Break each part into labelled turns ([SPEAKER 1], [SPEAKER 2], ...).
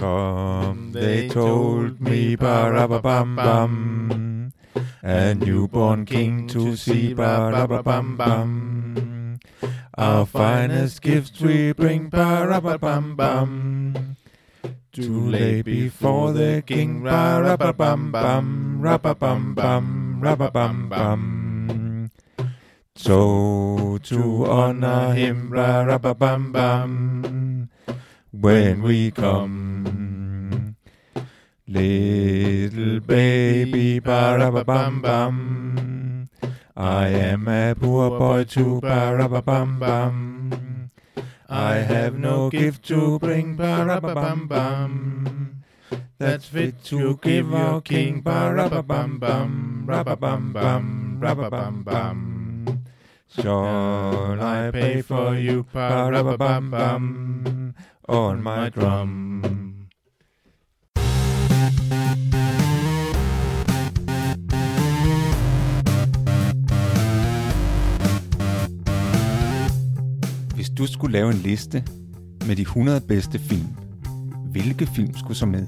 [SPEAKER 1] Come, they told me, ba-ra-ba-bam-bam, a newborn king to see, ba-ra-ba-bam-bam. Our finest gifts we bring, ba-ra-ba-bam-bam. Too late before the king, ba-ra-ba-bam-bam, ra-ba-bam-bam, ra-ba-bam-bam. So to honor him, ba-ra-ba-bam-bam, when we come. Little baby, ba-ra-ba-bam-bam, I am a poor boy too, ba-ra-ba-bam-bam. I have no gift to bring, ba-ra-ba-bam-bam. That's fit to give our king, ba-ra-ba-bam-bam, ra-ba-bam-bam, ra-ba-bam-bam. Shall I pay for you, ba-ra-ba-bam-bam, on my drum?
[SPEAKER 2] Hvis du skulle lave en liste med de 100 bedste film, hvilke film skulle så med?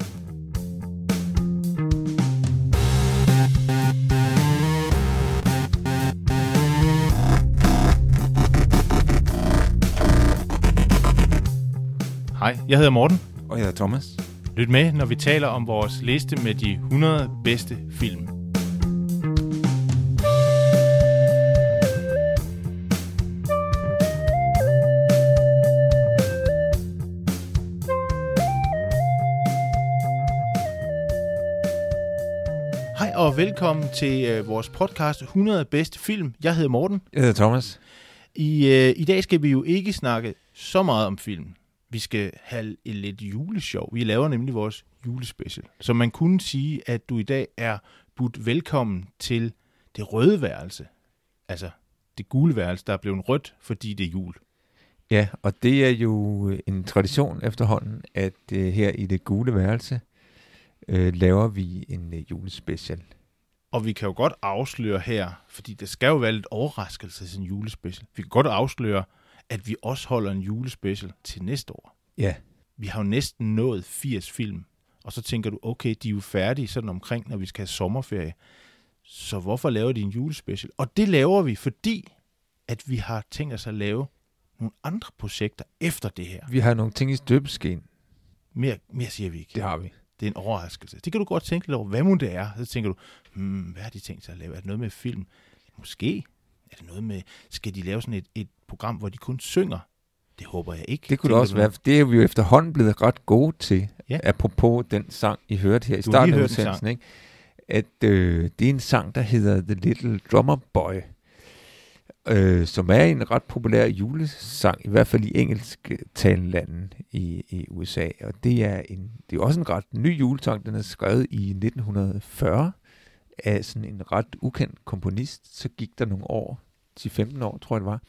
[SPEAKER 1] Hej, jeg hedder Morten.
[SPEAKER 2] Og jeg er Thomas.
[SPEAKER 1] Lyt med, når vi taler om vores liste med de 100 bedste film. Hej og velkommen til øh, vores podcast 100 bedste film. Jeg hedder Morten.
[SPEAKER 2] Jeg hedder Thomas.
[SPEAKER 1] I, øh, I dag skal vi jo ikke snakke så meget om film. Vi skal have et lidt juleshow. Vi laver nemlig vores julespecial. Så man kunne sige, at du i dag er budt velkommen til det røde værelse. Altså det gule værelse, der er blevet rødt, fordi det er jul.
[SPEAKER 3] Ja, og det er jo øh, en tradition efterhånden, at øh, her i det gule værelse øh, laver vi en øh, julespecial.
[SPEAKER 1] Og vi kan jo godt afsløre her, fordi det skal jo være lidt overraskelse til en julespecial. Vi kan godt afsløre, at vi også holder en julespecial til næste år.
[SPEAKER 3] Ja,
[SPEAKER 1] Vi har jo næsten nået 80 film, og så tænker du, okay, de er jo færdige sådan omkring, når vi skal have sommerferie. Så hvorfor laver de en julespecial? Og det laver vi, fordi at vi har tænkt os at lave nogle andre projekter efter det her.
[SPEAKER 3] vi har nogle ting i støbeskeen.
[SPEAKER 1] Mere, mere siger vi ikke.
[SPEAKER 3] Det har vi.
[SPEAKER 1] Det er en overraskelse. Det kan du godt tænke lidt over, hvad må det er. Så tænker du, hmm, hvad har de tænkt sig at lave? Er det noget med film? Måske. Er det noget med, skal de lave sådan et, et program, hvor de kun synger? Det håber jeg ikke.
[SPEAKER 3] Det kunne
[SPEAKER 1] tænker
[SPEAKER 3] det også
[SPEAKER 1] du.
[SPEAKER 3] være, for det er vi jo efterhånden blevet ret gode til,
[SPEAKER 1] Ja.
[SPEAKER 3] ja. apropos den sang, I hørte her i
[SPEAKER 1] Du har
[SPEAKER 3] starten
[SPEAKER 1] lige
[SPEAKER 3] af
[SPEAKER 1] hørt en
[SPEAKER 3] udsendelsen, ikke? at øh, det er en sang, der hedder The Little Drummer Boy, øh, som er en ret populær julesang, i hvert fald i engelsktalende lande i, i USA. Og det er, en, det er også en ret ny julesang, den er skrevet i 1940 af sådan en ret ukendt komponist. Så gik der nogle år, 10-15 år tror jeg det var,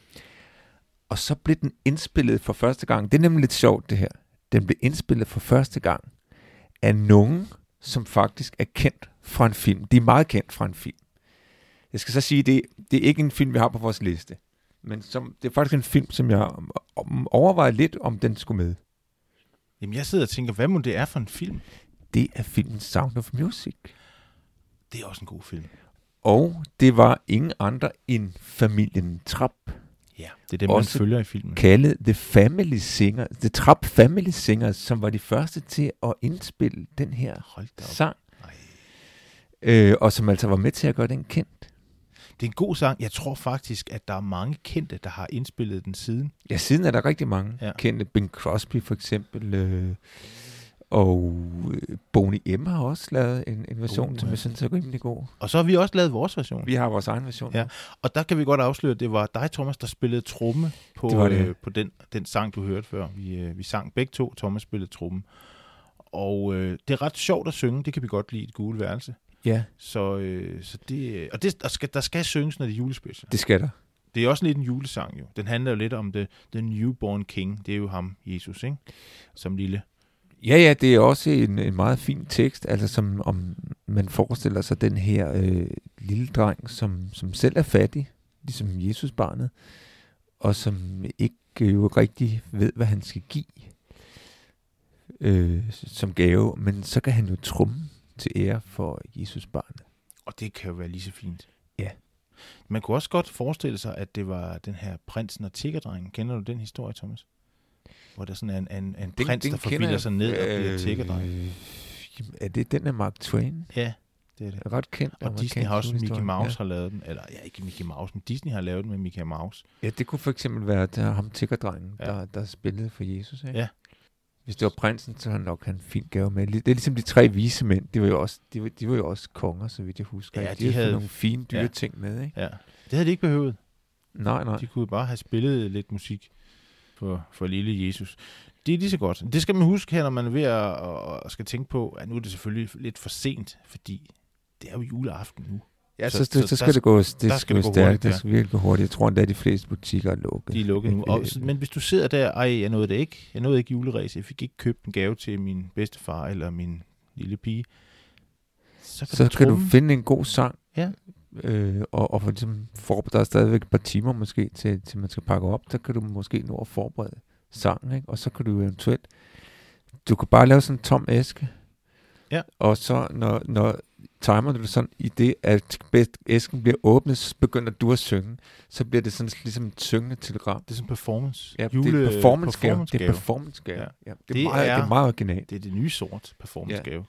[SPEAKER 3] og så blev den indspillet for første gang. Det er nemlig lidt sjovt, det her. Den blev indspillet for første gang af nogen, som faktisk er kendt fra en film. De er meget kendt fra en film. Jeg skal så sige, det, det er ikke en film, vi har på vores liste. Men som, det er faktisk en film, som jeg om- om- overvejer lidt, om den skulle med.
[SPEAKER 1] Jamen, jeg sidder og tænker, hvad må det er for en film?
[SPEAKER 3] Det er filmen Sound of Music.
[SPEAKER 1] Det er også en god film.
[SPEAKER 3] Og det var ingen andre end familien Trapp,
[SPEAKER 1] Ja, det er dem,
[SPEAKER 3] Også-
[SPEAKER 1] man følger i filmen.
[SPEAKER 3] kaldet The Family Singer, The Trapp Family Singers, som var de første til at indspille den her
[SPEAKER 1] Hold da op.
[SPEAKER 3] sang,
[SPEAKER 1] Ej.
[SPEAKER 3] øh, og som altså var med til at gøre den kendt.
[SPEAKER 1] Det er en god sang. Jeg tror faktisk, at der er mange kendte, der har indspillet den siden.
[SPEAKER 3] Ja, siden er der rigtig mange
[SPEAKER 1] Ja.
[SPEAKER 3] ja. kendte. Bing Crosby for eksempel, øh, og øh, Boney M har også lavet en, en version,
[SPEAKER 1] Uh,
[SPEAKER 3] uh, som
[SPEAKER 1] ja.
[SPEAKER 3] jeg synes er rimelig god.
[SPEAKER 1] Og så har vi også lavet vores version.
[SPEAKER 3] Vi har vores egen version.
[SPEAKER 1] Ja. Og der kan vi godt afsløre, at det var dig, Thomas, der spillede tromme på,
[SPEAKER 3] Det var det.
[SPEAKER 1] Øh, på den, den sang, du hørte før. Vi, øh, vi sang begge to, Thomas spillede tromme. Og øh, det er ret sjovt at synge, det kan vi godt lide i et gule værelse.
[SPEAKER 3] ja,
[SPEAKER 1] Så, øh, så det, øh, og det, der, skal, der skal synges, når det er julespecial.
[SPEAKER 3] det skal der.
[SPEAKER 1] Det er også lidt en julesang jo. Den handler jo lidt om the, the newborn king. Det er jo ham, Jesus, ikke? Som lille.
[SPEAKER 3] Ja, ja, det er også en, en meget fin tekst, altså som om man forestiller sig den her øh, lille dreng, som, som selv er fattig, ligesom Jesusbarnet, og som ikke øh, jo rigtig ved, hvad han skal give. øh, som gave, men så kan han jo trumme til ære for Jesus barnet.
[SPEAKER 1] Og det kan jo være lige så fint.
[SPEAKER 3] Ja.
[SPEAKER 1] Man kunne også godt forestille sig, at det var den her prinsen og tiggerdrengen. Kender du den historie, Thomas? Hvor der sådan er en, en, en
[SPEAKER 3] Den-
[SPEAKER 1] prins,
[SPEAKER 3] den kender
[SPEAKER 1] der forvilder
[SPEAKER 3] jeg.
[SPEAKER 1] sig ned og bliver tiggerdreng.
[SPEAKER 3] Øh, jamen, er det den af Mark Twain?
[SPEAKER 1] Ja, det er det.
[SPEAKER 3] Ret kendt.
[SPEAKER 1] Og Disney
[SPEAKER 3] amerikansk
[SPEAKER 1] har også Mickey
[SPEAKER 3] historie.
[SPEAKER 1] Mouse har lavet den. Eller, ja, ikke Mickey Mouse, men Disney har lavet den med Mickey Mouse.
[SPEAKER 3] Ja, ja det kunne for eksempel være der, ham tiggerdrengen,
[SPEAKER 1] Ja.
[SPEAKER 3] ja. der, der spillede for Jesus. Ikke?
[SPEAKER 1] Ja.
[SPEAKER 3] Hvis det var prinsen, så havde han nok han en fin gave med. Lig- Det er ligesom de tre vise mænd. Det var jo også, de var, de var jo også konger, så vidt jeg husker.
[SPEAKER 1] Ja,
[SPEAKER 3] ikke?
[SPEAKER 1] de
[SPEAKER 3] havde
[SPEAKER 1] havde-
[SPEAKER 3] fået nogle fine dyre
[SPEAKER 1] Ja.
[SPEAKER 3] ja. ting med, ikke?
[SPEAKER 1] Ja. Det havde de ikke behøvet.
[SPEAKER 3] Nej, nej.
[SPEAKER 1] De kunne bare have spillet lidt musik for, for lille Jesus. Det er lige så godt. Det skal man huske her, når man er ved at og skal tænke på, at nu er det selvfølgelig lidt for sent, fordi det er jo juleaften nu.
[SPEAKER 3] Ja,
[SPEAKER 1] Så-
[SPEAKER 3] så,
[SPEAKER 1] så
[SPEAKER 3] så, så skal
[SPEAKER 1] der-
[SPEAKER 3] Altså, det gå, det skal gå
[SPEAKER 1] skal det gå hurtigt,
[SPEAKER 3] stærkt,
[SPEAKER 1] ja.
[SPEAKER 3] det skal virkelig gå hurtigt. Jeg tror endda, at de fleste butikker er lukket.
[SPEAKER 1] De er lukket nu.
[SPEAKER 3] Øh,
[SPEAKER 1] Og,
[SPEAKER 3] øh,
[SPEAKER 1] men hvis du sidder der, ej, jeg nåede det ikke. Jeg nåede ikke juleræs. Jeg fik ikke købt en gave til min bedstefar eller min lille pige. Så kan
[SPEAKER 3] så
[SPEAKER 1] du
[SPEAKER 3] kan du
[SPEAKER 1] trumme.
[SPEAKER 3] finde en god sang,
[SPEAKER 1] Ja.
[SPEAKER 3] øh, og, og for, ligesom, for, der er stadigvæk et par timer måske, til, til man skal pakke op, så kan du måske nå at forberede sangen, ikke? og så kan du eventuelt, du kan bare lave sådan en tom æske,
[SPEAKER 1] Ja.
[SPEAKER 3] og så når, når timer du det sådan i det, at bedst- æsken bliver åbnet, så begynder du at synge, så bliver det sådan ligesom et syngende telegram.
[SPEAKER 1] Det er sådan en performance.
[SPEAKER 3] Ja, Jule, det er performance gave. Det er performance gave.
[SPEAKER 1] Ja.
[SPEAKER 3] Ja. Ja, det,
[SPEAKER 1] Det
[SPEAKER 3] er meget,
[SPEAKER 1] er-
[SPEAKER 3] det er meget originalt.
[SPEAKER 1] det er det nye sort performance gave.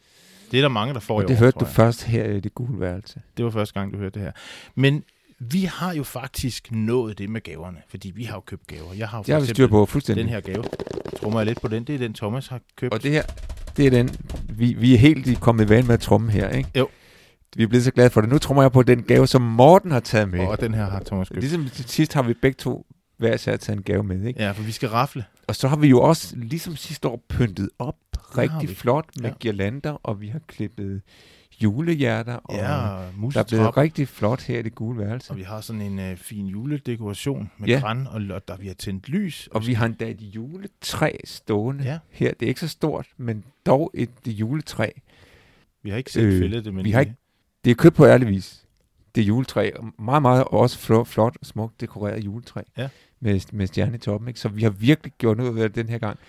[SPEAKER 1] Det er der mange, der får i
[SPEAKER 3] Og det
[SPEAKER 1] år,
[SPEAKER 3] hørte
[SPEAKER 1] tror
[SPEAKER 3] du
[SPEAKER 1] jeg.
[SPEAKER 3] først her i det gule værelse.
[SPEAKER 1] Det var første gang, du hørte det her. Men vi har jo faktisk nået det med gaverne, fordi vi har jo købt gaver. Jeg har jo
[SPEAKER 3] Det har vi
[SPEAKER 1] for
[SPEAKER 3] styr
[SPEAKER 1] eksempel
[SPEAKER 3] på
[SPEAKER 1] den
[SPEAKER 3] fuldstændig.
[SPEAKER 1] her gave. Tror jeg lidt på den. Det er den, Thomas har købt.
[SPEAKER 3] Og det her, det er den, vi, vi er helt i- kommet i vane med at tromme her, ikke?
[SPEAKER 1] Jo.
[SPEAKER 3] Vi er blevet så glade for det. Nu trommer jeg på den gave, som Morten har taget med.
[SPEAKER 1] og den her har Thomas købt.
[SPEAKER 3] Ligesom til sidst har vi begge to hver sær taget en gave med, ikke?
[SPEAKER 1] Ja, for vi skal rafle.
[SPEAKER 3] Og så har vi jo også, ligesom sidste år, pyntet op
[SPEAKER 1] har vi.
[SPEAKER 3] rigtig flot med
[SPEAKER 1] Ja.
[SPEAKER 3] ja. girlander, og vi har klippet julehjerter, og
[SPEAKER 1] Ja,
[SPEAKER 3] der er blevet
[SPEAKER 1] musetrap.
[SPEAKER 3] rigtig flot her i det gule værelse.
[SPEAKER 1] Og vi har sådan en øh, fin juledekoration med ja.
[SPEAKER 3] Ja.
[SPEAKER 1] græn, og, og der vi har tændt lys.
[SPEAKER 3] Og vi har endda et juletræ stående
[SPEAKER 1] Ja.
[SPEAKER 3] ja. her. Det er ikke så stort, men dog et juletræ.
[SPEAKER 1] Vi har ikke selv øh,
[SPEAKER 3] Øh,
[SPEAKER 1] fældet det, men
[SPEAKER 3] vi har ikke- Det er købt på ærlig vis. Det er juletræ. og Meget, meget også flot, flot og smukt dekoreret juletræ.
[SPEAKER 1] Ja.
[SPEAKER 3] Med, med stjerne i toppen. Ikke? Så vi har virkelig gjort noget ud af det den her gang.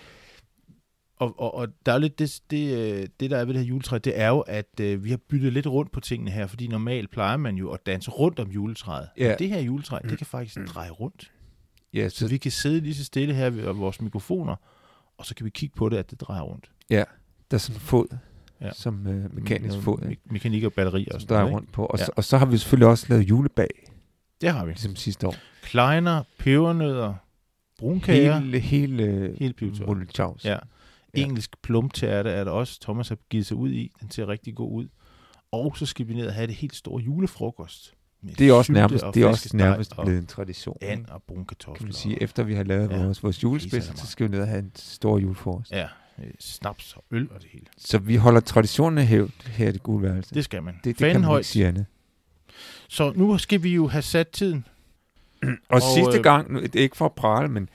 [SPEAKER 1] Og, og, og der er jo lidt det, det, øh, det, der er ved det her juletræ, det er jo, at øh, vi har byttet lidt rundt på tingene her, fordi normalt plejer man jo at danse rundt om juletræet.
[SPEAKER 3] Ja. Mm.
[SPEAKER 1] Men det her juletræ, det kan faktisk dreje rundt.
[SPEAKER 3] Ja,
[SPEAKER 1] Så vi kan sidde lige så stille her ved vores mikrofoner, og så kan vi kigge på det, at det drejer rundt.
[SPEAKER 3] ja, der er sådan en fod,
[SPEAKER 1] Ja.
[SPEAKER 3] ja. som øh, mekanisk
[SPEAKER 1] Noget
[SPEAKER 3] fod, ikke?
[SPEAKER 1] Me- mekanik og batterier og
[SPEAKER 3] som
[SPEAKER 1] sådan
[SPEAKER 3] drejer
[SPEAKER 1] noget.
[SPEAKER 3] rundt på. Og,
[SPEAKER 1] Ja.
[SPEAKER 3] ja. så, og så har vi selvfølgelig også lavet julebag,
[SPEAKER 1] Ikke? Det har vi.
[SPEAKER 3] ligesom sidste år.
[SPEAKER 1] Kleiner, pebernødder, brunkager,
[SPEAKER 3] Hele, hele,
[SPEAKER 1] Hele pivetøjet.
[SPEAKER 3] Mulle Tjavs.
[SPEAKER 1] Ja.
[SPEAKER 3] Ja.
[SPEAKER 1] engelsk plumtærte er der også. Thomas har givet sig ud i. Den ser rigtig god ud. Og så skal vi ned og have det helt store julefrokost. Med
[SPEAKER 3] Det er også
[SPEAKER 1] sylte
[SPEAKER 3] nærmest,
[SPEAKER 1] og
[SPEAKER 3] det er også
[SPEAKER 1] flæskesteg
[SPEAKER 3] nærmest
[SPEAKER 1] og
[SPEAKER 3] blevet en tradition. ikke?
[SPEAKER 1] and og brune kartofler.
[SPEAKER 3] kan man sige, efter vi har lavet
[SPEAKER 1] Ja.
[SPEAKER 3] ja. vores, vores
[SPEAKER 1] Pizza er
[SPEAKER 3] julespids,
[SPEAKER 1] der
[SPEAKER 3] så skal vi ned og have en stor juleforrest. Ja.
[SPEAKER 1] Ja, øh, snaps og øl og det hele.
[SPEAKER 3] Så vi holder traditionen i hævd her i det gule værelse.
[SPEAKER 1] Det skal man.
[SPEAKER 3] det, det kan man
[SPEAKER 1] Fanenhøjt.
[SPEAKER 3] ikke sige andet.
[SPEAKER 1] Så nu skal vi jo have sat tiden.
[SPEAKER 3] Og,
[SPEAKER 1] Og,
[SPEAKER 3] og sidste
[SPEAKER 1] øh,
[SPEAKER 3] øh, gang, nu, det er ikke for at prale, men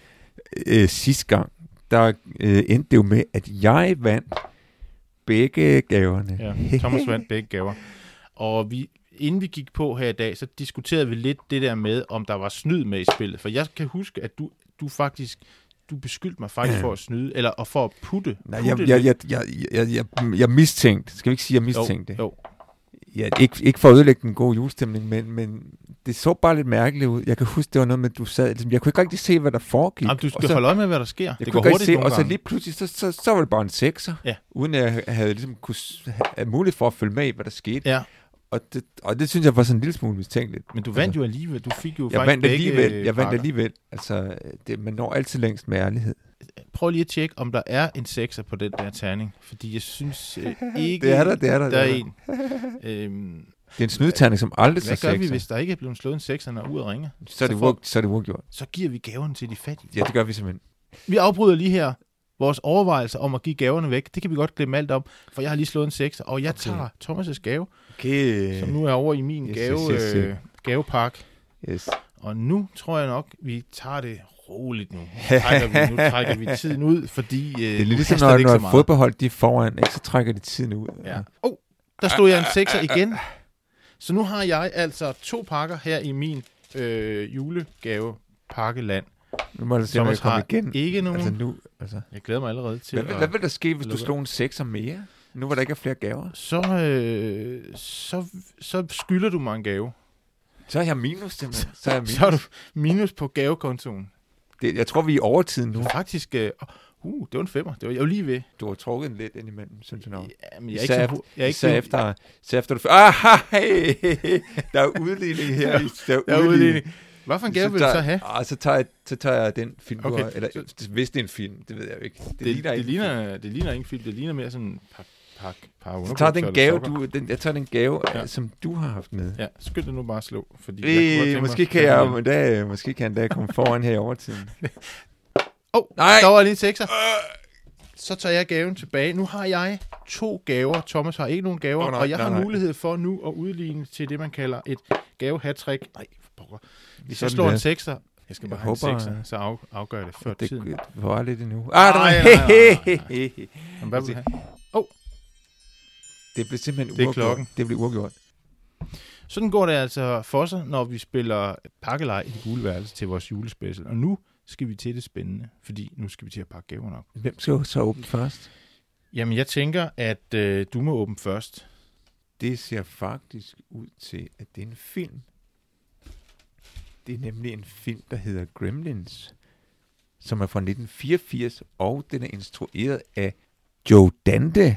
[SPEAKER 3] øh, sidste gang, der øh, endte det jo med, at jeg vandt begge gaverne.
[SPEAKER 1] Ja, Thomas vandt begge gaver. Og vi, inden vi gik på her i dag, så diskuterede vi lidt det der med, om der var snyd med i spillet. For jeg kan huske, at du, du faktisk du beskyldte mig faktisk for at snyde, eller og for at putte.
[SPEAKER 3] Nej,
[SPEAKER 1] putte
[SPEAKER 3] jeg, jeg, jeg, jeg, jeg, jeg, jeg mistænkte. Skal vi ikke sige, at jeg mistænkte?
[SPEAKER 1] Jo, jo.
[SPEAKER 3] Ja, ikke, ikke for at ødelægge den gode julestemning, men, men det så bare lidt mærkeligt ud. Jeg kan huske, det var noget med, at du sad... Ligesom, jeg kunne ikke rigtig se, hvad der foregik.
[SPEAKER 1] Jamen, du
[SPEAKER 3] Og
[SPEAKER 1] skal
[SPEAKER 3] så-
[SPEAKER 1] holde øje med, hvad der sker.
[SPEAKER 3] Jeg
[SPEAKER 1] det går
[SPEAKER 3] kunne godt
[SPEAKER 1] hurtigt
[SPEAKER 3] se,
[SPEAKER 1] nogle
[SPEAKER 3] og så
[SPEAKER 1] gange.
[SPEAKER 3] lige pludselig, så, så, så var det bare en sekser,
[SPEAKER 1] Ja.
[SPEAKER 3] uden at jeg havde ligesom kunne, s- have mulighed for at følge med i, hvad der skete.
[SPEAKER 1] Ja,
[SPEAKER 3] Og, det, og det synes jeg var sådan en lille smule mistænkeligt.
[SPEAKER 1] men du vandt jo alligevel. Du fik jo
[SPEAKER 3] Jeg
[SPEAKER 1] faktisk
[SPEAKER 3] vandt alligevel,
[SPEAKER 1] begge, øh,
[SPEAKER 3] jeg vandt
[SPEAKER 1] pakker.
[SPEAKER 3] alligevel. Altså, det, man når altid længst med ærlighed.
[SPEAKER 1] Prøv lige at tjekke, om der er en sekser på den der terning. Fordi jeg synes øh, ikke,
[SPEAKER 3] Det er der, det er der,
[SPEAKER 1] der er
[SPEAKER 3] det er
[SPEAKER 1] en. Øhm,
[SPEAKER 3] Det er en snydeterning, som aldrig
[SPEAKER 1] hvad
[SPEAKER 3] så
[SPEAKER 1] gør vi,
[SPEAKER 3] sekser.
[SPEAKER 1] hvis der ikke er blevet slået en sekser, når uret ringer?
[SPEAKER 3] Så er det
[SPEAKER 1] så får-
[SPEAKER 3] uafg- så er det uafgjort.
[SPEAKER 1] Så giver vi gaverne til de fattige.
[SPEAKER 3] Ja, det gør vi simpelthen.
[SPEAKER 1] Vi afbryder lige her vores overvejelser om at give gaverne væk. Det kan vi godt glemme alt om, for jeg har lige slået en sekser, og jeg
[SPEAKER 3] Okay. Øh,
[SPEAKER 1] tager Thomas' gave,
[SPEAKER 3] Okay.
[SPEAKER 1] som nu er over i min
[SPEAKER 3] Yes,
[SPEAKER 1] gave,
[SPEAKER 3] yes, yes, yes.
[SPEAKER 1] Øh, gavepakke.
[SPEAKER 3] Yes.
[SPEAKER 1] Og nu tror jeg nok, vi tager det roligt nu. Nu trækker vi, nu trækker vi tiden ud, fordi øh,
[SPEAKER 3] Det er
[SPEAKER 1] nu
[SPEAKER 3] ligesom,
[SPEAKER 1] haster
[SPEAKER 3] når,
[SPEAKER 1] det ikke så
[SPEAKER 3] når
[SPEAKER 1] meget.
[SPEAKER 3] fodboldhold de er foran, ikke, så trækker de tiden ud.
[SPEAKER 1] Ja. Oh, der stod jeg en sekser igen. Så nu har jeg altså to pakker her i min øh, julegave pakkeland.
[SPEAKER 3] Nu må du se, om jeg
[SPEAKER 1] Thomas
[SPEAKER 3] kommer
[SPEAKER 1] har
[SPEAKER 3] igen.
[SPEAKER 1] ikke nogen...
[SPEAKER 3] Altså nu, altså.
[SPEAKER 1] Jeg glæder mig allerede til
[SPEAKER 3] Hvad,
[SPEAKER 1] at...
[SPEAKER 3] vil- hvad vil der ske, hvis du
[SPEAKER 1] lukker.
[SPEAKER 3] slog en sekser mere? Nu hvor der ikke er flere gaver.
[SPEAKER 1] Så, øh, så, så skylder du mig en gave.
[SPEAKER 3] Så er jeg minus, simpelthen. Så er jeg minus.
[SPEAKER 1] Så er du minus på gavekontoen.
[SPEAKER 3] Det, jeg tror, vi er i overtiden nu.
[SPEAKER 1] Du er faktisk... Øh, uh, det var en femmer. Det var jeg var lige ved.
[SPEAKER 3] Du har trukket den lidt ind imellem, synes jeg nok.
[SPEAKER 1] Ja, men jeg er ikke, så, jeg er ikke
[SPEAKER 3] Især efter, især efter du... Ah, hey, der er udligning her. Der er,
[SPEAKER 1] Jeg er udligning. Hvad for en gave vil du så have?
[SPEAKER 3] Ah, så, tager jeg, så tager jeg den film, okay. du
[SPEAKER 1] Okay.
[SPEAKER 3] har, eller hvis det er en film, det ved jeg jo ikke. Det,
[SPEAKER 1] Det, det, ligner, det,
[SPEAKER 3] ikke.
[SPEAKER 1] ligner, det ligner ikke en film. Det ligner mere sådan en pak, pak, par
[SPEAKER 3] Så
[SPEAKER 1] underbukser.
[SPEAKER 3] tager den
[SPEAKER 1] eller
[SPEAKER 3] gave,
[SPEAKER 1] sokker.
[SPEAKER 3] du, den, jeg tager den gave, ja.
[SPEAKER 1] Ja.
[SPEAKER 3] som du har haft med.
[SPEAKER 1] Ja, skynd dig nu bare at slå. Fordi jeg kunne godt tænke
[SPEAKER 3] Øh,
[SPEAKER 1] mig-
[SPEAKER 3] måske kan jeg om en dag, måske kan jeg en dag komme foran her i overtiden.
[SPEAKER 1] Åh, oh,
[SPEAKER 3] Nej.
[SPEAKER 1] der var lige en sekser. Så tager jeg gaven tilbage. Nu har jeg to gaver. Thomas har ikke nogen gaver,
[SPEAKER 3] Åh,
[SPEAKER 1] oh,
[SPEAKER 3] nej,
[SPEAKER 1] nej, og jeg
[SPEAKER 3] nej,
[SPEAKER 1] har
[SPEAKER 3] nej.
[SPEAKER 1] mulighed for nu at udligne til det, man kalder et gavehattrick. Nej, for pokker. Hvis
[SPEAKER 3] Sådan
[SPEAKER 1] jeg slår
[SPEAKER 3] der.
[SPEAKER 1] en sekser, jeg skal
[SPEAKER 3] Jeg
[SPEAKER 1] bare have en
[SPEAKER 3] håber,
[SPEAKER 1] sekser, så af, afgør jeg det før
[SPEAKER 3] Det,
[SPEAKER 1] tiden.
[SPEAKER 3] det var lidt endnu. Ah, der var,
[SPEAKER 1] Nej, nej, nej, nej, Jamen,
[SPEAKER 3] altså,
[SPEAKER 1] hvad vil du have?
[SPEAKER 3] Det blev simpelthen
[SPEAKER 1] Det er
[SPEAKER 3] uafgjort.
[SPEAKER 1] klokken.
[SPEAKER 3] Det blev uafgjort.
[SPEAKER 1] Sådan går det altså for sig, når vi spiller pakkelej i det gule værelse til vores julespecial. Og nu skal vi til det spændende, fordi nu skal vi til at pakke gaverne op.
[SPEAKER 3] Hvem skal jo så åbne først?
[SPEAKER 1] Jamen, jeg tænker, at øh, du må åbne først.
[SPEAKER 3] Det ser faktisk ud til, at det er en film. Det er nemlig en film, der hedder Gremlins, som er fra 1984, og den er instrueret af Joe Dante.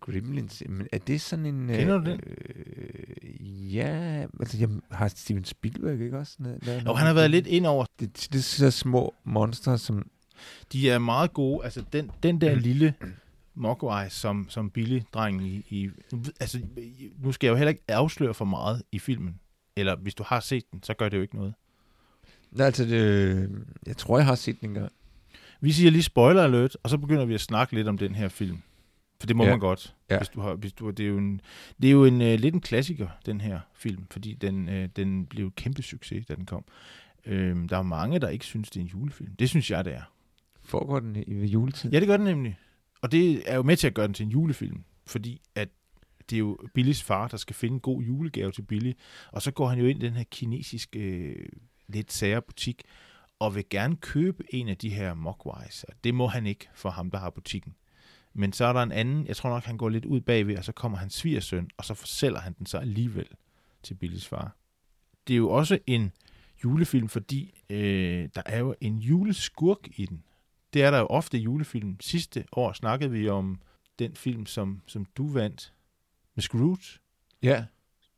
[SPEAKER 3] Gremlins, men er det sådan en... øh,
[SPEAKER 1] Kender du den?
[SPEAKER 3] Øh, ja, altså jeg har Steven Spielberg ikke også? Noget, lavet
[SPEAKER 1] Og
[SPEAKER 3] noget
[SPEAKER 1] han har
[SPEAKER 3] med
[SPEAKER 1] været
[SPEAKER 3] film?
[SPEAKER 1] lidt ind over.
[SPEAKER 3] Det, det er så små monstre, som...
[SPEAKER 1] De er meget gode. Altså, den, den der lille Mogwai, som, som Billy-drengen i, i... nu ved- Altså, nu skal jeg jo heller ikke afsløre for meget i filmen. Eller hvis du har set den, så gør det jo ikke noget.
[SPEAKER 3] Nej, altså, det, jeg tror, jeg har set den engang.
[SPEAKER 1] Vi siger lige spoiler alert, og så begynder vi at snakke lidt om den her film. For det må
[SPEAKER 3] Ja.
[SPEAKER 1] ja. man godt.
[SPEAKER 3] Ja.
[SPEAKER 1] Ja. Hvis du har, hvis du, det er jo, en, det er jo en, øh, lidt en klassiker, den her film, fordi den, øh, den blev et kæmpe succes, da den kom. Øhm, der er mange, der ikke synes, det er en julefilm. Det synes jeg, det er.
[SPEAKER 3] Foregår den i ved juletid?
[SPEAKER 1] Ja, det gør den nemlig. Og det er jo med til at gøre den til en julefilm, fordi at det er jo Billys far, der skal finde en god julegave til Billy. Og så går han jo ind i den her kinesiske, øh, lidt sære butik, og vil gerne købe en af de her mogwais. Og det må han ikke for ham, der har butikken. Men så er der en anden, jeg tror nok, han går lidt ud bagved, og så kommer hans svigersøn, og så forsælger han den så alligevel til Billys far. Det er jo også en julefilm, fordi øh, der er jo en juleskurk i den det er der jo ofte i julefilm. Sidste år snakkede vi om den film, som, som du vandt med Scrooge.
[SPEAKER 3] ja.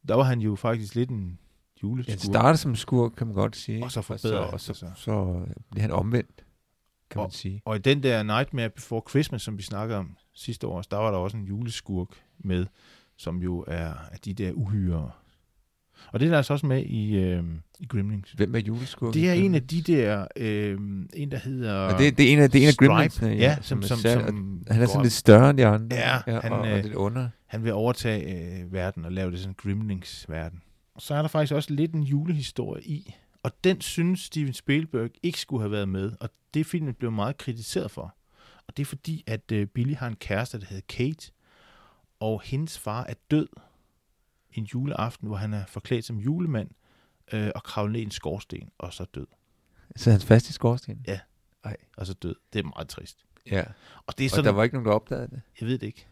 [SPEAKER 1] Der var han jo faktisk lidt en
[SPEAKER 3] Ja,
[SPEAKER 1] juleskurk.
[SPEAKER 3] Han starter som skurk, kan man godt sige.
[SPEAKER 1] Og så forbedrer
[SPEAKER 3] og
[SPEAKER 1] han
[SPEAKER 3] så,
[SPEAKER 1] sig
[SPEAKER 3] og så,
[SPEAKER 1] så.
[SPEAKER 3] så bliver han omvendt, kan man
[SPEAKER 1] Og-
[SPEAKER 3] sige.
[SPEAKER 1] Og i den der Nightmare Before Christmas, som vi snakkede om sidste år, der var der også en juleskurk med, som jo er af de der uhyre. Og det er der altså også med i, øh, i Gremlings.
[SPEAKER 3] Hvem er juleskurk?
[SPEAKER 1] Det er en af de der, øh, en der hedder
[SPEAKER 3] og det, det er en af, det er en af
[SPEAKER 1] Stripe.
[SPEAKER 3] Gremlinsene,
[SPEAKER 1] ja, som, som,
[SPEAKER 3] sær-
[SPEAKER 1] som,
[SPEAKER 3] og
[SPEAKER 1] som
[SPEAKER 3] han er sådan
[SPEAKER 1] går-
[SPEAKER 3] lidt større end de andre.
[SPEAKER 1] Ja,
[SPEAKER 3] han,
[SPEAKER 1] han,
[SPEAKER 3] og, og
[SPEAKER 1] øh,
[SPEAKER 3] lidt under.
[SPEAKER 1] Han vil overtage øh, verden og lave det sådan en Grimlings-verden. Og så er der faktisk også lidt en julehistorie i, og den synes Steven Spielberg ikke skulle have været med, og det filmen blev meget kritiseret for. Og det er fordi, at øh, Billy har en kæreste, der hedder Kate, og hendes far er død en juleaften, hvor han er forklædt som julemand øh, og kravlet ned i en skorsten, og så død.
[SPEAKER 3] Så er han fast i skorstenen.
[SPEAKER 1] Og så død. Det er meget trist.
[SPEAKER 3] Ja,
[SPEAKER 1] Og det er
[SPEAKER 3] og
[SPEAKER 1] sådan,
[SPEAKER 3] der var ikke nogen, der opdagede det.
[SPEAKER 1] jeg ved det ikke.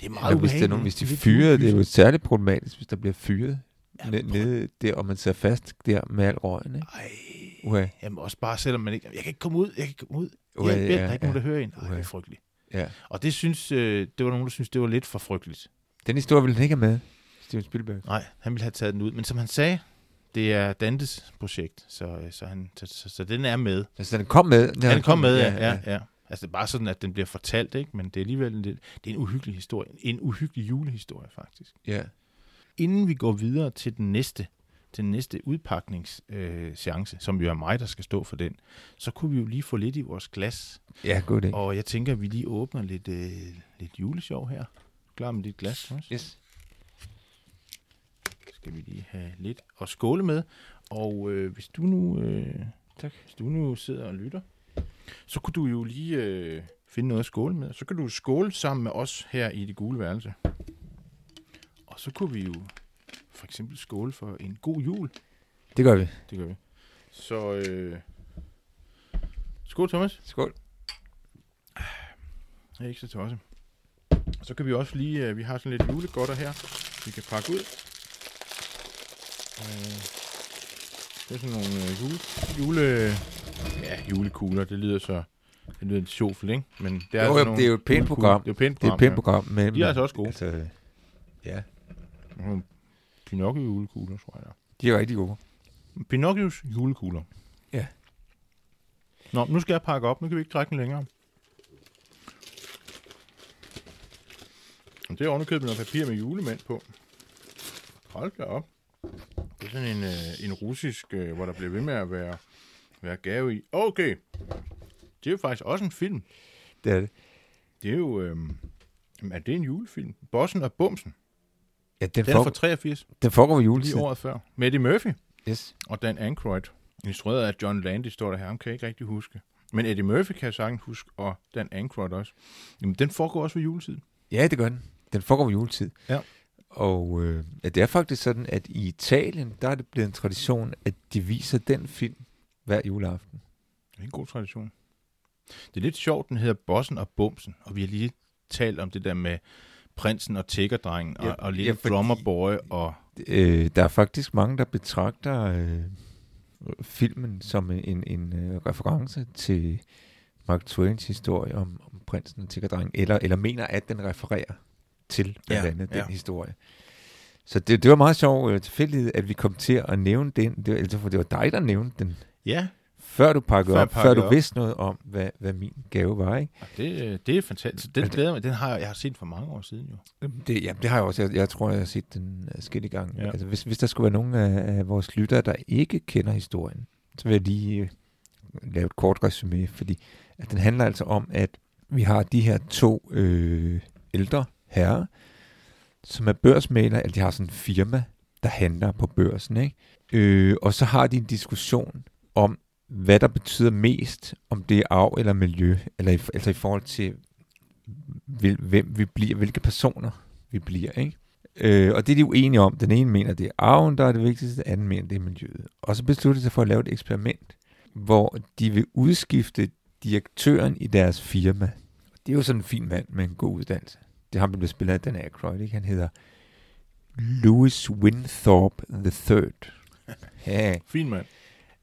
[SPEAKER 1] Det er meget
[SPEAKER 3] Og hvis,
[SPEAKER 1] ubehageligt.
[SPEAKER 3] der er nogen, hvis de
[SPEAKER 1] lidt
[SPEAKER 3] fyrer, det er jo
[SPEAKER 1] julefyser.
[SPEAKER 3] særligt problematisk, hvis der bliver fyret
[SPEAKER 1] Ja,
[SPEAKER 3] ned,
[SPEAKER 1] prøv-
[SPEAKER 3] nede der, og man sidder fast der med al røgen. Ikke?
[SPEAKER 1] Ej.
[SPEAKER 3] Uha,
[SPEAKER 1] Jamen også bare selvom man ikke... Jeg kan ikke komme ud, jeg kan ikke komme ud. Jeg
[SPEAKER 3] uha,
[SPEAKER 1] er i bed, der er
[SPEAKER 3] ja,
[SPEAKER 1] ikke nogen, der hører en. Ej, det
[SPEAKER 3] Uha.
[SPEAKER 1] er frygteligt.
[SPEAKER 3] ja.
[SPEAKER 1] Og det synes... Øh, det var nogen, der synes, det var lidt for frygteligt.
[SPEAKER 3] Den historie ville han ikke have med, Steven Spielberg.
[SPEAKER 1] Nej, han ville have taget den ud. Men som han sagde, det er Dantes projekt, så, øh, så, han, så, så, så den er med.
[SPEAKER 3] Altså, den kom med.
[SPEAKER 1] Ja, den kom med, ja, ja, ja. Altså, det er bare sådan, at den bliver fortalt, ikke? men det er alligevel en, lidt- det er en uhyggelig historie. En uhyggelig julehistorie, faktisk.
[SPEAKER 3] ja.
[SPEAKER 1] inden vi går videre til den næste, til den næste udpakningschance, som jo er mig, der skal stå for den, så kunne vi jo lige få lidt i vores glas.
[SPEAKER 3] Ja, god idé.
[SPEAKER 1] Og jeg tænker, at vi lige åbner lidt, øh, lidt julesjov her. Klar med dit glas, Thomas?
[SPEAKER 3] Yes.
[SPEAKER 1] Skal vi lige have lidt at skåle med. Og øh, hvis du nu... Øh,
[SPEAKER 3] Tak.
[SPEAKER 1] Hvis du nu sidder og lytter, så kunne du jo lige øh, finde noget at skåle med. Så kan du skåle sammen med os her i det gule værelse. Og så kunne vi jo for eksempel skåle for en god jul.
[SPEAKER 3] Det gør vi.
[SPEAKER 1] Det gør vi. Så øh, Skål, Thomas.
[SPEAKER 3] Skål.
[SPEAKER 1] Jeg er ikke så tosset. Og så kan vi også lige, øh, vi har sådan lidt julegodter her, vi kan pakke ud. Øh, Det er sådan nogle øh, jule, jule, ja, julekugler, det lyder så, det lyder lidt sjovt, ikke? Men det er,
[SPEAKER 3] Jo,
[SPEAKER 1] altså
[SPEAKER 3] jo,
[SPEAKER 1] nogle
[SPEAKER 3] det er jo et pænt
[SPEAKER 1] julekugler.
[SPEAKER 3] program.
[SPEAKER 1] Det er jo et pænt
[SPEAKER 3] Det er
[SPEAKER 1] program.
[SPEAKER 3] et pænt program. Men,
[SPEAKER 1] Ja. De er altså også gode.
[SPEAKER 3] Altså,
[SPEAKER 1] Nogle Pinocchio julekugler, tror jeg.
[SPEAKER 3] de er rigtig gode.
[SPEAKER 1] Pinocchios julekugler.
[SPEAKER 3] Ja.
[SPEAKER 1] Nå, nu skal jeg pakke op. Nu kan vi ikke trække den længere. Og Det er ovenikøbet noget papir med julemænd på. Hold da op. Det er sådan en, øh, en russisk, øh, hvor der bliver ved med at være, være gave i. Okay. Det er jo faktisk også en film.
[SPEAKER 3] Det er det.
[SPEAKER 1] Det er jo... Øh, jamen, er det en julefilm? Bossen og Bumsen.
[SPEAKER 3] Ja, den,
[SPEAKER 1] Den er
[SPEAKER 3] for,
[SPEAKER 1] fra 83,
[SPEAKER 3] den foregår ved
[SPEAKER 1] lige
[SPEAKER 3] juletid.
[SPEAKER 1] året før. Med Murphy.
[SPEAKER 3] Yes.
[SPEAKER 1] og Dan Aykroyd. Instrueret af John Landis, står der her. Ham kan jeg ikke rigtig huske. Men Eddie Murphy kan jeg sagtens huske, og Dan Aykroyd også. Jamen, den foregår også ved juletid.
[SPEAKER 3] Ja, det gør den. Den foregår ved juletid.
[SPEAKER 1] Ja.
[SPEAKER 3] Og øh, ja, det er faktisk sådan, at i Italien, der er det blevet en tradition, at de viser den film hver juleaften.
[SPEAKER 1] Det er en god tradition. Det er lidt sjovt, den hedder Bossen og Bumsen, og vi har lige talt om det der med prinsen og tiggerdrengen og,
[SPEAKER 3] Ja,
[SPEAKER 1] og lille
[SPEAKER 3] ja, fordi-
[SPEAKER 1] drummerboy og...
[SPEAKER 3] Øh, der er faktisk mange, der betragter øh, filmen som en, en øh, reference til Mark Twains historie om, om prinsen og tiggerdrengen, eller, eller mener, at den refererer til blandt
[SPEAKER 1] Ja,
[SPEAKER 3] ja, andet
[SPEAKER 1] ja.
[SPEAKER 3] den historie. Så det, det var meget sjovt øh, tilfældighed, at vi kom til at nævne den. Det var, altså, for det var dig, der nævnte den,
[SPEAKER 1] Ja,
[SPEAKER 3] før du pakkede
[SPEAKER 1] Før jeg
[SPEAKER 3] op, før
[SPEAKER 1] pakkede
[SPEAKER 3] du
[SPEAKER 1] op.
[SPEAKER 3] vidste noget om, hvad, hvad min gave var. Ikke?
[SPEAKER 1] og det, det er fantastisk. Den glæder jeg mig. Den har jeg, jeg har set for mange år siden jo.
[SPEAKER 3] Det, ja, det har jeg også. Jeg, jeg tror, jeg har set den skille gang.
[SPEAKER 1] Ja.
[SPEAKER 3] Ja. Altså, hvis, hvis der skulle være nogen af, af vores lyttere, der ikke kender historien, så vil jeg lige øh, lave et kort resume, fordi at den handler altså om, at vi har de her to øh, ældre herrer, som er børsmaler, eller de har sådan en firma, der handler på børsen, ikke? Øh, og så har de en diskussion om, hvad der betyder mest, om det er arv eller miljø, eller i, altså i forhold til, hvil- hvem vi bliver, hvilke personer vi bliver, ikke? Øh, og det er de uenige om. Den ene mener, det er arven, der er det vigtigste, den anden mener, det er miljøet. Og så beslutter de sig for at lave et eksperiment, hvor de vil udskifte direktøren i deres firma. Det er jo sådan en fin mand med en god uddannelse. Det er ham, der blev spillet af Dan Aykroyd, ikke? Han hedder Louis Winthorpe III. Ja,
[SPEAKER 1] Fin mand.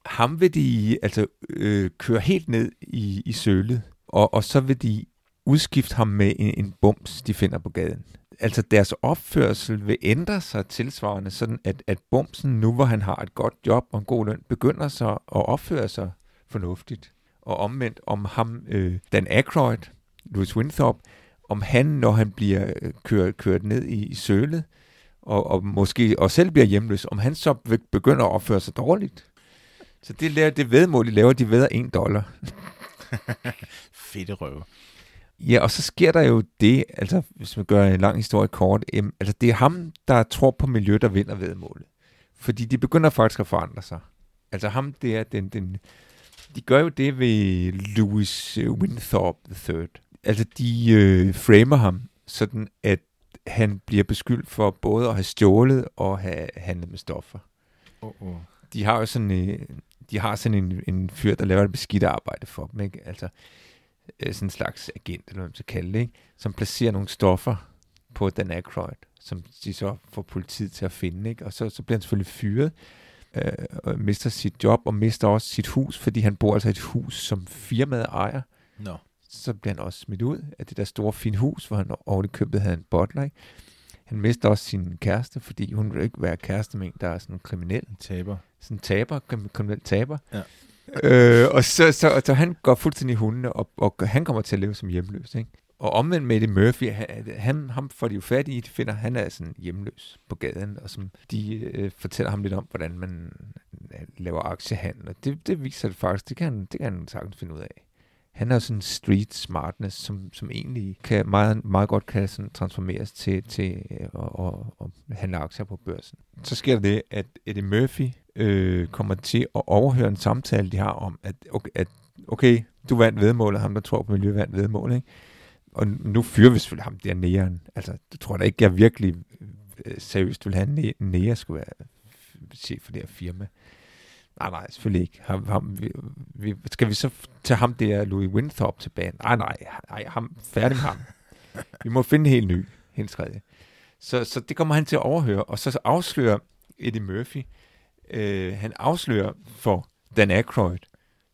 [SPEAKER 3] ham vil de altså øh, køre helt ned i, i sølet, og, og så vil de udskifte ham med en, en bums, de finder på gaden. Altså deres opførsel vil ændre sig tilsvarende, sådan at, at bumsen, nu hvor han har et godt job og en god løn, begynder sig at opføre sig fornuftigt. Og omvendt om ham, øh, Dan Aykroyd, Louis Winthorpe, om han, når han bliver øh, kørt, kørt ned i, i sølet, og, og måske og selv bliver hjemløs, om han så be- begynder at opføre sig dårligt. Så det, laver, det vedmål, de laver, de veder en dollar.
[SPEAKER 1] Fedte røve.
[SPEAKER 3] Ja, og så sker der jo det, altså hvis man gør en lang historie kort, em, altså det er ham, der tror på miljø, der vinder vedmålet. Fordi de begynder faktisk at forandre sig. Altså ham der, den, den, de gør jo det ved Louis øh, Winthorpe III. Altså de øh, framer ham, sådan at han bliver beskyldt for både at have stjålet og have handlet med stoffer.
[SPEAKER 1] Oh, oh.
[SPEAKER 3] de har jo sådan, øh, de har sådan en, en fyr, der laver det beskidte arbejde for dem, ikke? Altså øh, sådan en slags agent, eller hvad man skal kalde det, ikke? Som placerer nogle stoffer på Dan Aykroyd, som de så får politiet til at finde, ikke? Og så, så bliver han selvfølgelig fyret, øh, og mister sit job, og mister også sit hus, fordi han bor altså i et hus, som firmaet ejer
[SPEAKER 1] Nå.
[SPEAKER 3] så bliver han også smidt ud af det der store fine hus, hvor han oven i købet havde en butler. Ikke? Han mister også sin kæreste, fordi hun vil ikke være kæreste med en, der er sådan en kriminel.
[SPEAKER 1] En taber.
[SPEAKER 3] Sådan en taber, krim- kriminel taber.
[SPEAKER 1] Ja.
[SPEAKER 3] øh, og så, så, og så han går fuldstændig i hundene, og, og han kommer til at leve som hjemløs. Ikke? Og omvendt med det Murphy, han, han, ham får de jo fat i, de finder, han er sådan hjemløs på gaden, og som de øh, fortæller ham lidt om, hvordan man øh, laver aktiehandel. Og det, det viser det faktisk, det kan, han- det kan han sagtens finde ud af han er jo sådan en street smartness, som, som egentlig kan meget, meget godt kan sådan transformeres til, til øh, at, at, at handle aktier på børsen. Så sker der det, at Eddie Murphy øh, kommer til at overhøre en samtale, de har om, at okay, at, okay du vandt vedmålet, ham der tror på miljø vandt vedmålet, ikke? Og nu fyrer vi selvfølgelig ham der næren. Altså, du tror da ikke, jeg virkelig øh, seriøst vil have en nære, skulle være chef for det her firma. Nej, nej, selvfølgelig ikke. Ham, ham, vi, vi, skal vi så f- tage ham der, Louis Winthrop, tilbage? Nej, nej, nej ham, færdig med ham. Vi må finde en helt ny, helt tredje. Så, så det kommer han til at overhøre, og så afslører Eddie Murphy, øh, han afslører for Dan Aykroyd,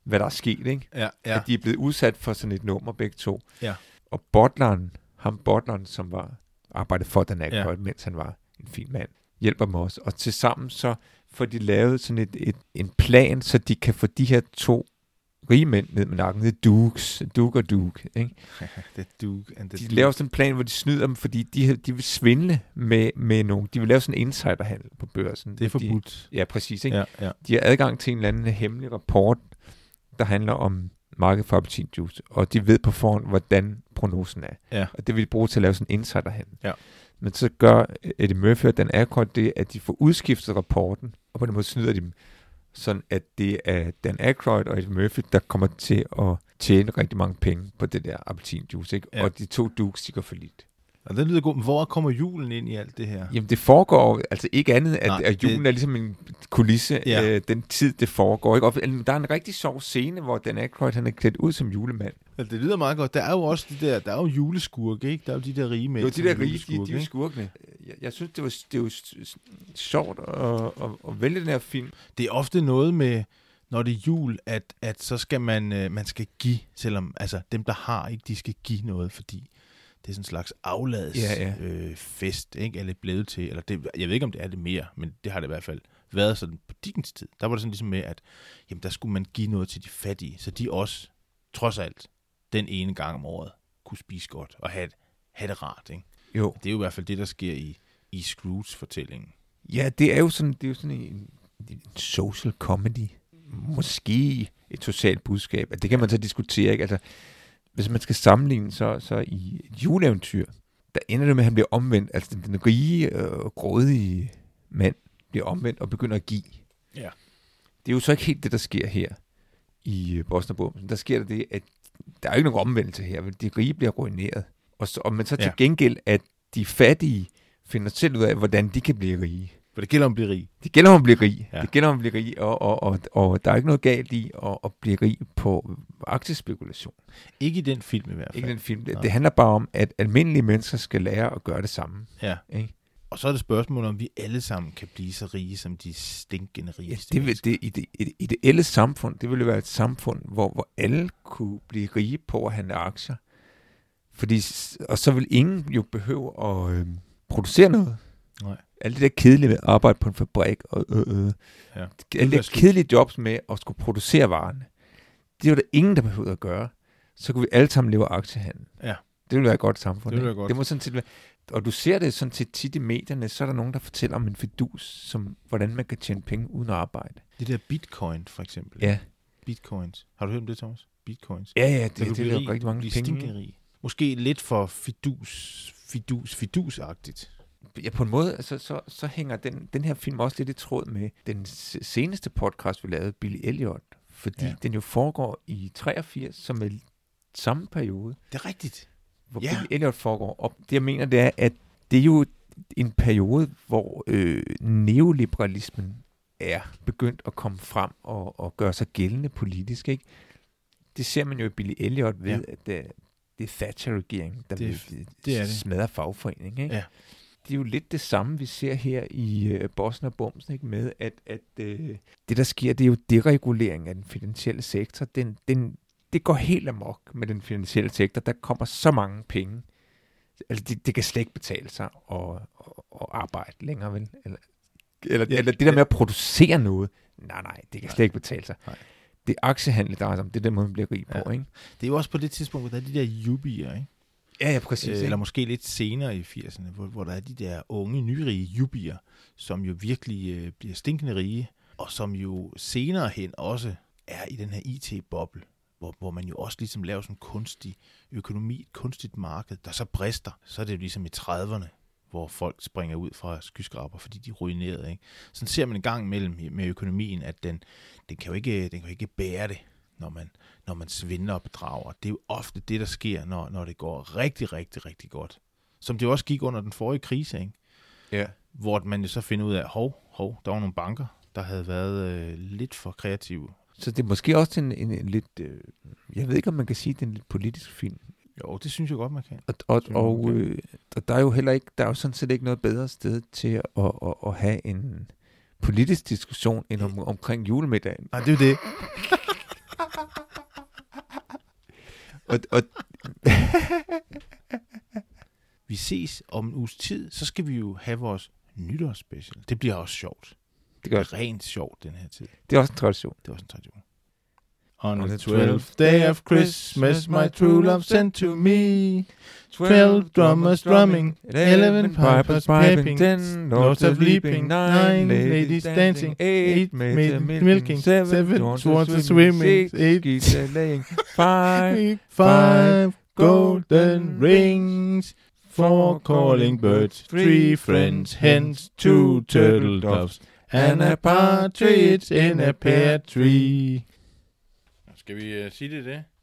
[SPEAKER 3] hvad der er sket, ikke?
[SPEAKER 1] Ja,
[SPEAKER 3] ja.
[SPEAKER 1] ja.
[SPEAKER 3] at de er blevet udsat for sådan et nummer begge to.
[SPEAKER 1] Ja.
[SPEAKER 3] Og Botleren, ham Botleren, som var arbejdede for Dan
[SPEAKER 1] Ja.
[SPEAKER 3] Aykroyd, ja. mens han var en fin mand, hjælper dem også. Og til sammen så får de lavet sådan et, et, en plan, så de kan få de her to rige mænd ned med nakken. Det er Dukes, Duke og Duke. Ikke?
[SPEAKER 1] The Duke and the
[SPEAKER 3] De laver sådan en plan, hvor de snyder dem, fordi de, de vil svindle med, med nogen. De vil lave sådan en insiderhandel på børsen.
[SPEAKER 1] Det er
[SPEAKER 3] At de-
[SPEAKER 1] forbudt.
[SPEAKER 3] Ja, præcis. Ikke?
[SPEAKER 1] Ja, ja.
[SPEAKER 3] de har adgang til en eller anden hemmelig rapport, der handler om markedet for appelsinjuice, og de ved på forhånd, hvordan prognosen er.
[SPEAKER 1] Ja.
[SPEAKER 3] Og det vil de bruge til at lave sådan en insiderhandel.
[SPEAKER 1] Ja.
[SPEAKER 3] Men så gør Eddie Murphy og Dan Aykroyd det, at de får udskiftet rapporten, og på den måde snyder de dem, sådan at det er Dan Aykroyd og Eddie Murphy, der kommer til at tjene rigtig mange penge på det der appelsinjuice, ikke?
[SPEAKER 1] Ja.
[SPEAKER 3] Ja. og de to dukes, de går for lidt.
[SPEAKER 1] Og det lyder godt. Men Hvor kommer julen ind i alt det her?
[SPEAKER 3] Jamen det foregår altså ikke andet, at,
[SPEAKER 1] Nej,
[SPEAKER 3] Nej, at julen
[SPEAKER 1] det-
[SPEAKER 3] det... er ligesom en kulisse,
[SPEAKER 1] Ja.
[SPEAKER 3] ja. øh, den tid det foregår. Ikke? Og der er en rigtig sjov scene, hvor Dan Aykroyd han er klædt ud som julemand.
[SPEAKER 1] Ja, Altså, det lyder meget godt. Der er jo også de der, der er jo juleskurke, ikke? Der er jo de der rige mænd.
[SPEAKER 3] Jo, de
[SPEAKER 1] som
[SPEAKER 3] der
[SPEAKER 1] er
[SPEAKER 3] rige, de,
[SPEAKER 1] juleskurke,
[SPEAKER 3] de er jo
[SPEAKER 1] ikke?
[SPEAKER 3] skurkene. Jeg, jeg synes, det var, det var s- s- sjovt at, at, at vælge den her film.
[SPEAKER 1] Det er ofte noget med, når det er jul, at, at så skal man, øh, man skal give, selvom altså, dem, der har ikke, de skal give noget, fordi det er sådan en slags afladsfest,
[SPEAKER 3] Ja,
[SPEAKER 1] ja, ja. øh, fest, ikke? Eller blevet til, eller det, jeg ved ikke, om det er det mere, men det har det i hvert fald været sådan på Dickens tid. Der var det sådan ligesom med, at jamen, der skulle man give noget til de fattige, så de også, trods alt, den ene gang om året, kunne spise godt og have, have det rart, ikke?
[SPEAKER 3] Jo.
[SPEAKER 1] Det er jo i hvert fald det, der sker i, i Scrooge-fortællingen.
[SPEAKER 3] Ja, det er jo sådan, det er jo sådan en, en social comedy. Måske et socialt budskab. Altså, Det kan man så diskutere, ikke? Altså, hvis man skal sammenligne så, så i et juleeventyr, der ender det med, at han bliver omvendt. Altså den, den rige og øh, grådige mand bliver omvendt og begynder at give.
[SPEAKER 1] Ja.
[SPEAKER 3] Det er jo så ikke helt det, der sker her i øh, Boston og Bumsen. Der sker der det, at der er jo ikke nogen omvendelse her. vel? De rige bliver ruineret. Og, så, og men så til
[SPEAKER 1] Ja.
[SPEAKER 3] gengæld, at de fattige finder selv ud af, hvordan de kan blive rige.
[SPEAKER 1] For det gælder om at blive rig.
[SPEAKER 3] Det gælder om at blive rig.
[SPEAKER 1] Ja.
[SPEAKER 3] Ja. Det gælder om at blive rig, og, og, og, og der er ikke noget galt i at, at blive rig på aktiespekulation.
[SPEAKER 1] Ikke i den film i hvert fald.
[SPEAKER 3] Ikke den film.
[SPEAKER 1] Nej.
[SPEAKER 3] Det, det handler bare om, at almindelige mennesker skal lære at gøre det samme.
[SPEAKER 1] Ja.
[SPEAKER 3] Ikke?
[SPEAKER 1] Og så er det spørgsmålet, om vi alle sammen kan blive så rige, som de stinkende rige.
[SPEAKER 3] Ja, det, vil, det, i det, i det ideelle samfund, det ville jo være et samfund, hvor, hvor alle kunne blive rige på at handle aktier. Fordi, s- og så vil ingen jo behøve at øh, producere noget.
[SPEAKER 1] Nej.
[SPEAKER 3] Alt det der kedelige med at arbejde på en fabrik, og øh, øh,
[SPEAKER 1] Ja.
[SPEAKER 3] alle de
[SPEAKER 1] være
[SPEAKER 3] der
[SPEAKER 1] slut.
[SPEAKER 3] kedelige jobs med at skulle producere varerne. Det var der ingen, der behøvede at gøre. Så kunne vi alle sammen leve af aktiehandel.
[SPEAKER 1] Ja.
[SPEAKER 3] Det ville være et godt samfund.
[SPEAKER 1] Det ville
[SPEAKER 3] ikke?
[SPEAKER 1] være godt.
[SPEAKER 3] Det må sådan set være. Og du ser det sådan set tit i medierne, så er der nogen, der fortæller om en fidus, som hvordan man kan tjene penge uden at arbejde.
[SPEAKER 1] det der bitcoin, for eksempel.
[SPEAKER 3] Ja.
[SPEAKER 1] Bitcoins. Har du hørt om det, Thomas? Bitcoins.
[SPEAKER 3] Ja, ja,
[SPEAKER 1] Så kan
[SPEAKER 3] det,
[SPEAKER 1] du
[SPEAKER 3] det er
[SPEAKER 1] blive
[SPEAKER 3] jo
[SPEAKER 1] rig,
[SPEAKER 3] rigtig mange
[SPEAKER 1] blive
[SPEAKER 3] penge.
[SPEAKER 1] stinkende rig. Måske lidt for fidus, fidus, fidusagtigt.
[SPEAKER 3] Ja, på en måde, altså, så, så hænger den, den her film også lidt i tråd med den se- seneste podcast, vi lavede, Billy Elliot. Fordi
[SPEAKER 1] Ja.
[SPEAKER 3] ja. den jo foregår i 83, som er samme periode,
[SPEAKER 1] Det er rigtigt.
[SPEAKER 3] hvor
[SPEAKER 1] Ja.
[SPEAKER 3] ja. Billy Elliot foregår. Og det, jeg mener, det er, at det er jo en periode, hvor øh, neoliberalismen er begyndt at komme frem og, og gøre sig gældende politisk. Ikke? Det ser man jo i Billy Elliot ved,
[SPEAKER 1] Ja.
[SPEAKER 3] ja. at det, det er Thatcher-regeringen, der
[SPEAKER 1] Det er
[SPEAKER 3] det,
[SPEAKER 1] f-
[SPEAKER 3] vil
[SPEAKER 1] det er det.
[SPEAKER 3] smadre fagforeningen. Ikke?
[SPEAKER 1] Ja.
[SPEAKER 3] Det er jo lidt det samme, vi ser her i øh, Bossen og Bumsen, ikke? med at, at øh, det, der sker, det er jo deregulering af den finansielle sektor. Den, den, det går helt amok med den finansielle sektor. Der kommer så mange penge. Altså, det, det kan slet ikke betale sig at, at, at arbejde længere, vel? Eller, eller,
[SPEAKER 1] Ja,
[SPEAKER 3] ja, eller det der med at producere noget. Nej, nej, det kan
[SPEAKER 1] Nej.
[SPEAKER 3] slet ikke betale sig.
[SPEAKER 1] Nej.
[SPEAKER 3] Det er aktiehandel, der er som, det er den måde, man bliver rig på,
[SPEAKER 1] Ja.
[SPEAKER 3] ja. ikke?
[SPEAKER 1] Det er jo også på det tidspunkt, hvor der er de der jubier, ikke?
[SPEAKER 3] Ja, ja,
[SPEAKER 1] Øh,
[SPEAKER 3] præcis.
[SPEAKER 1] Eller måske lidt senere i 80'erne, hvor, hvor der er de der unge, nyrige jubier, som jo virkelig øh, bliver stinkende rige, og som jo senere hen også er i den her IT-boble, hvor, hvor man jo også ligesom laver sådan en kunstig økonomi, et kunstigt marked, der så brister. Så er det jo ligesom i 30'erne, hvor folk springer ud fra skyskraber, fordi de er ruineret. Ikke? Sådan ser man en gang imellem i- med økonomien, at den, den, kan jo ikke, den kan jo ikke bære det, når man, når man svindler og bedrager. Det er jo ofte det, der sker, når, når det går rigtig, rigtig, rigtig godt. Som det jo også gik under den forrige krise, ikke?
[SPEAKER 3] Ja.
[SPEAKER 1] hvor man jo så finder ud af, hov, hov, der var nogle banker, der havde været øh, lidt for kreative.
[SPEAKER 3] Så det er måske også en, en, en lidt... Øh, jeg ved ikke, om man kan sige, at det er en lidt politisk film.
[SPEAKER 1] Jo, det synes jeg godt, man kan.
[SPEAKER 3] Og, og,
[SPEAKER 1] Synes
[SPEAKER 3] og,
[SPEAKER 1] jeg,
[SPEAKER 3] øh, og der er jo heller ikke, der er jo sådan set ikke noget bedre sted til at, at, at have en politisk diskussion end om, omkring julemiddagen.
[SPEAKER 1] Nej, det er jo det.
[SPEAKER 3] Og, og
[SPEAKER 1] Vi ses om en uges tid, så skal vi jo have vores nytårsspecial. Det bliver også sjovt.
[SPEAKER 3] det, gør,
[SPEAKER 1] Rent sjovt den her tid.
[SPEAKER 3] det er også en tradition.
[SPEAKER 1] Det var sådan en tradition. On
[SPEAKER 3] On
[SPEAKER 1] the
[SPEAKER 3] the 12th
[SPEAKER 1] twelfth day of Christmas, my true love sent to me 12 drummers drumming, 11 pipers piping,
[SPEAKER 3] 10
[SPEAKER 1] lords of leaping, 9 ladies dancing, 8 maiden milking, 7 swans swimming, 8
[SPEAKER 3] geese laying, 5
[SPEAKER 1] Five golden rings, four calling birds, three friends, hens, two turtle doves, and a partridge in a pear tree. Skal vi uh, sige det, det?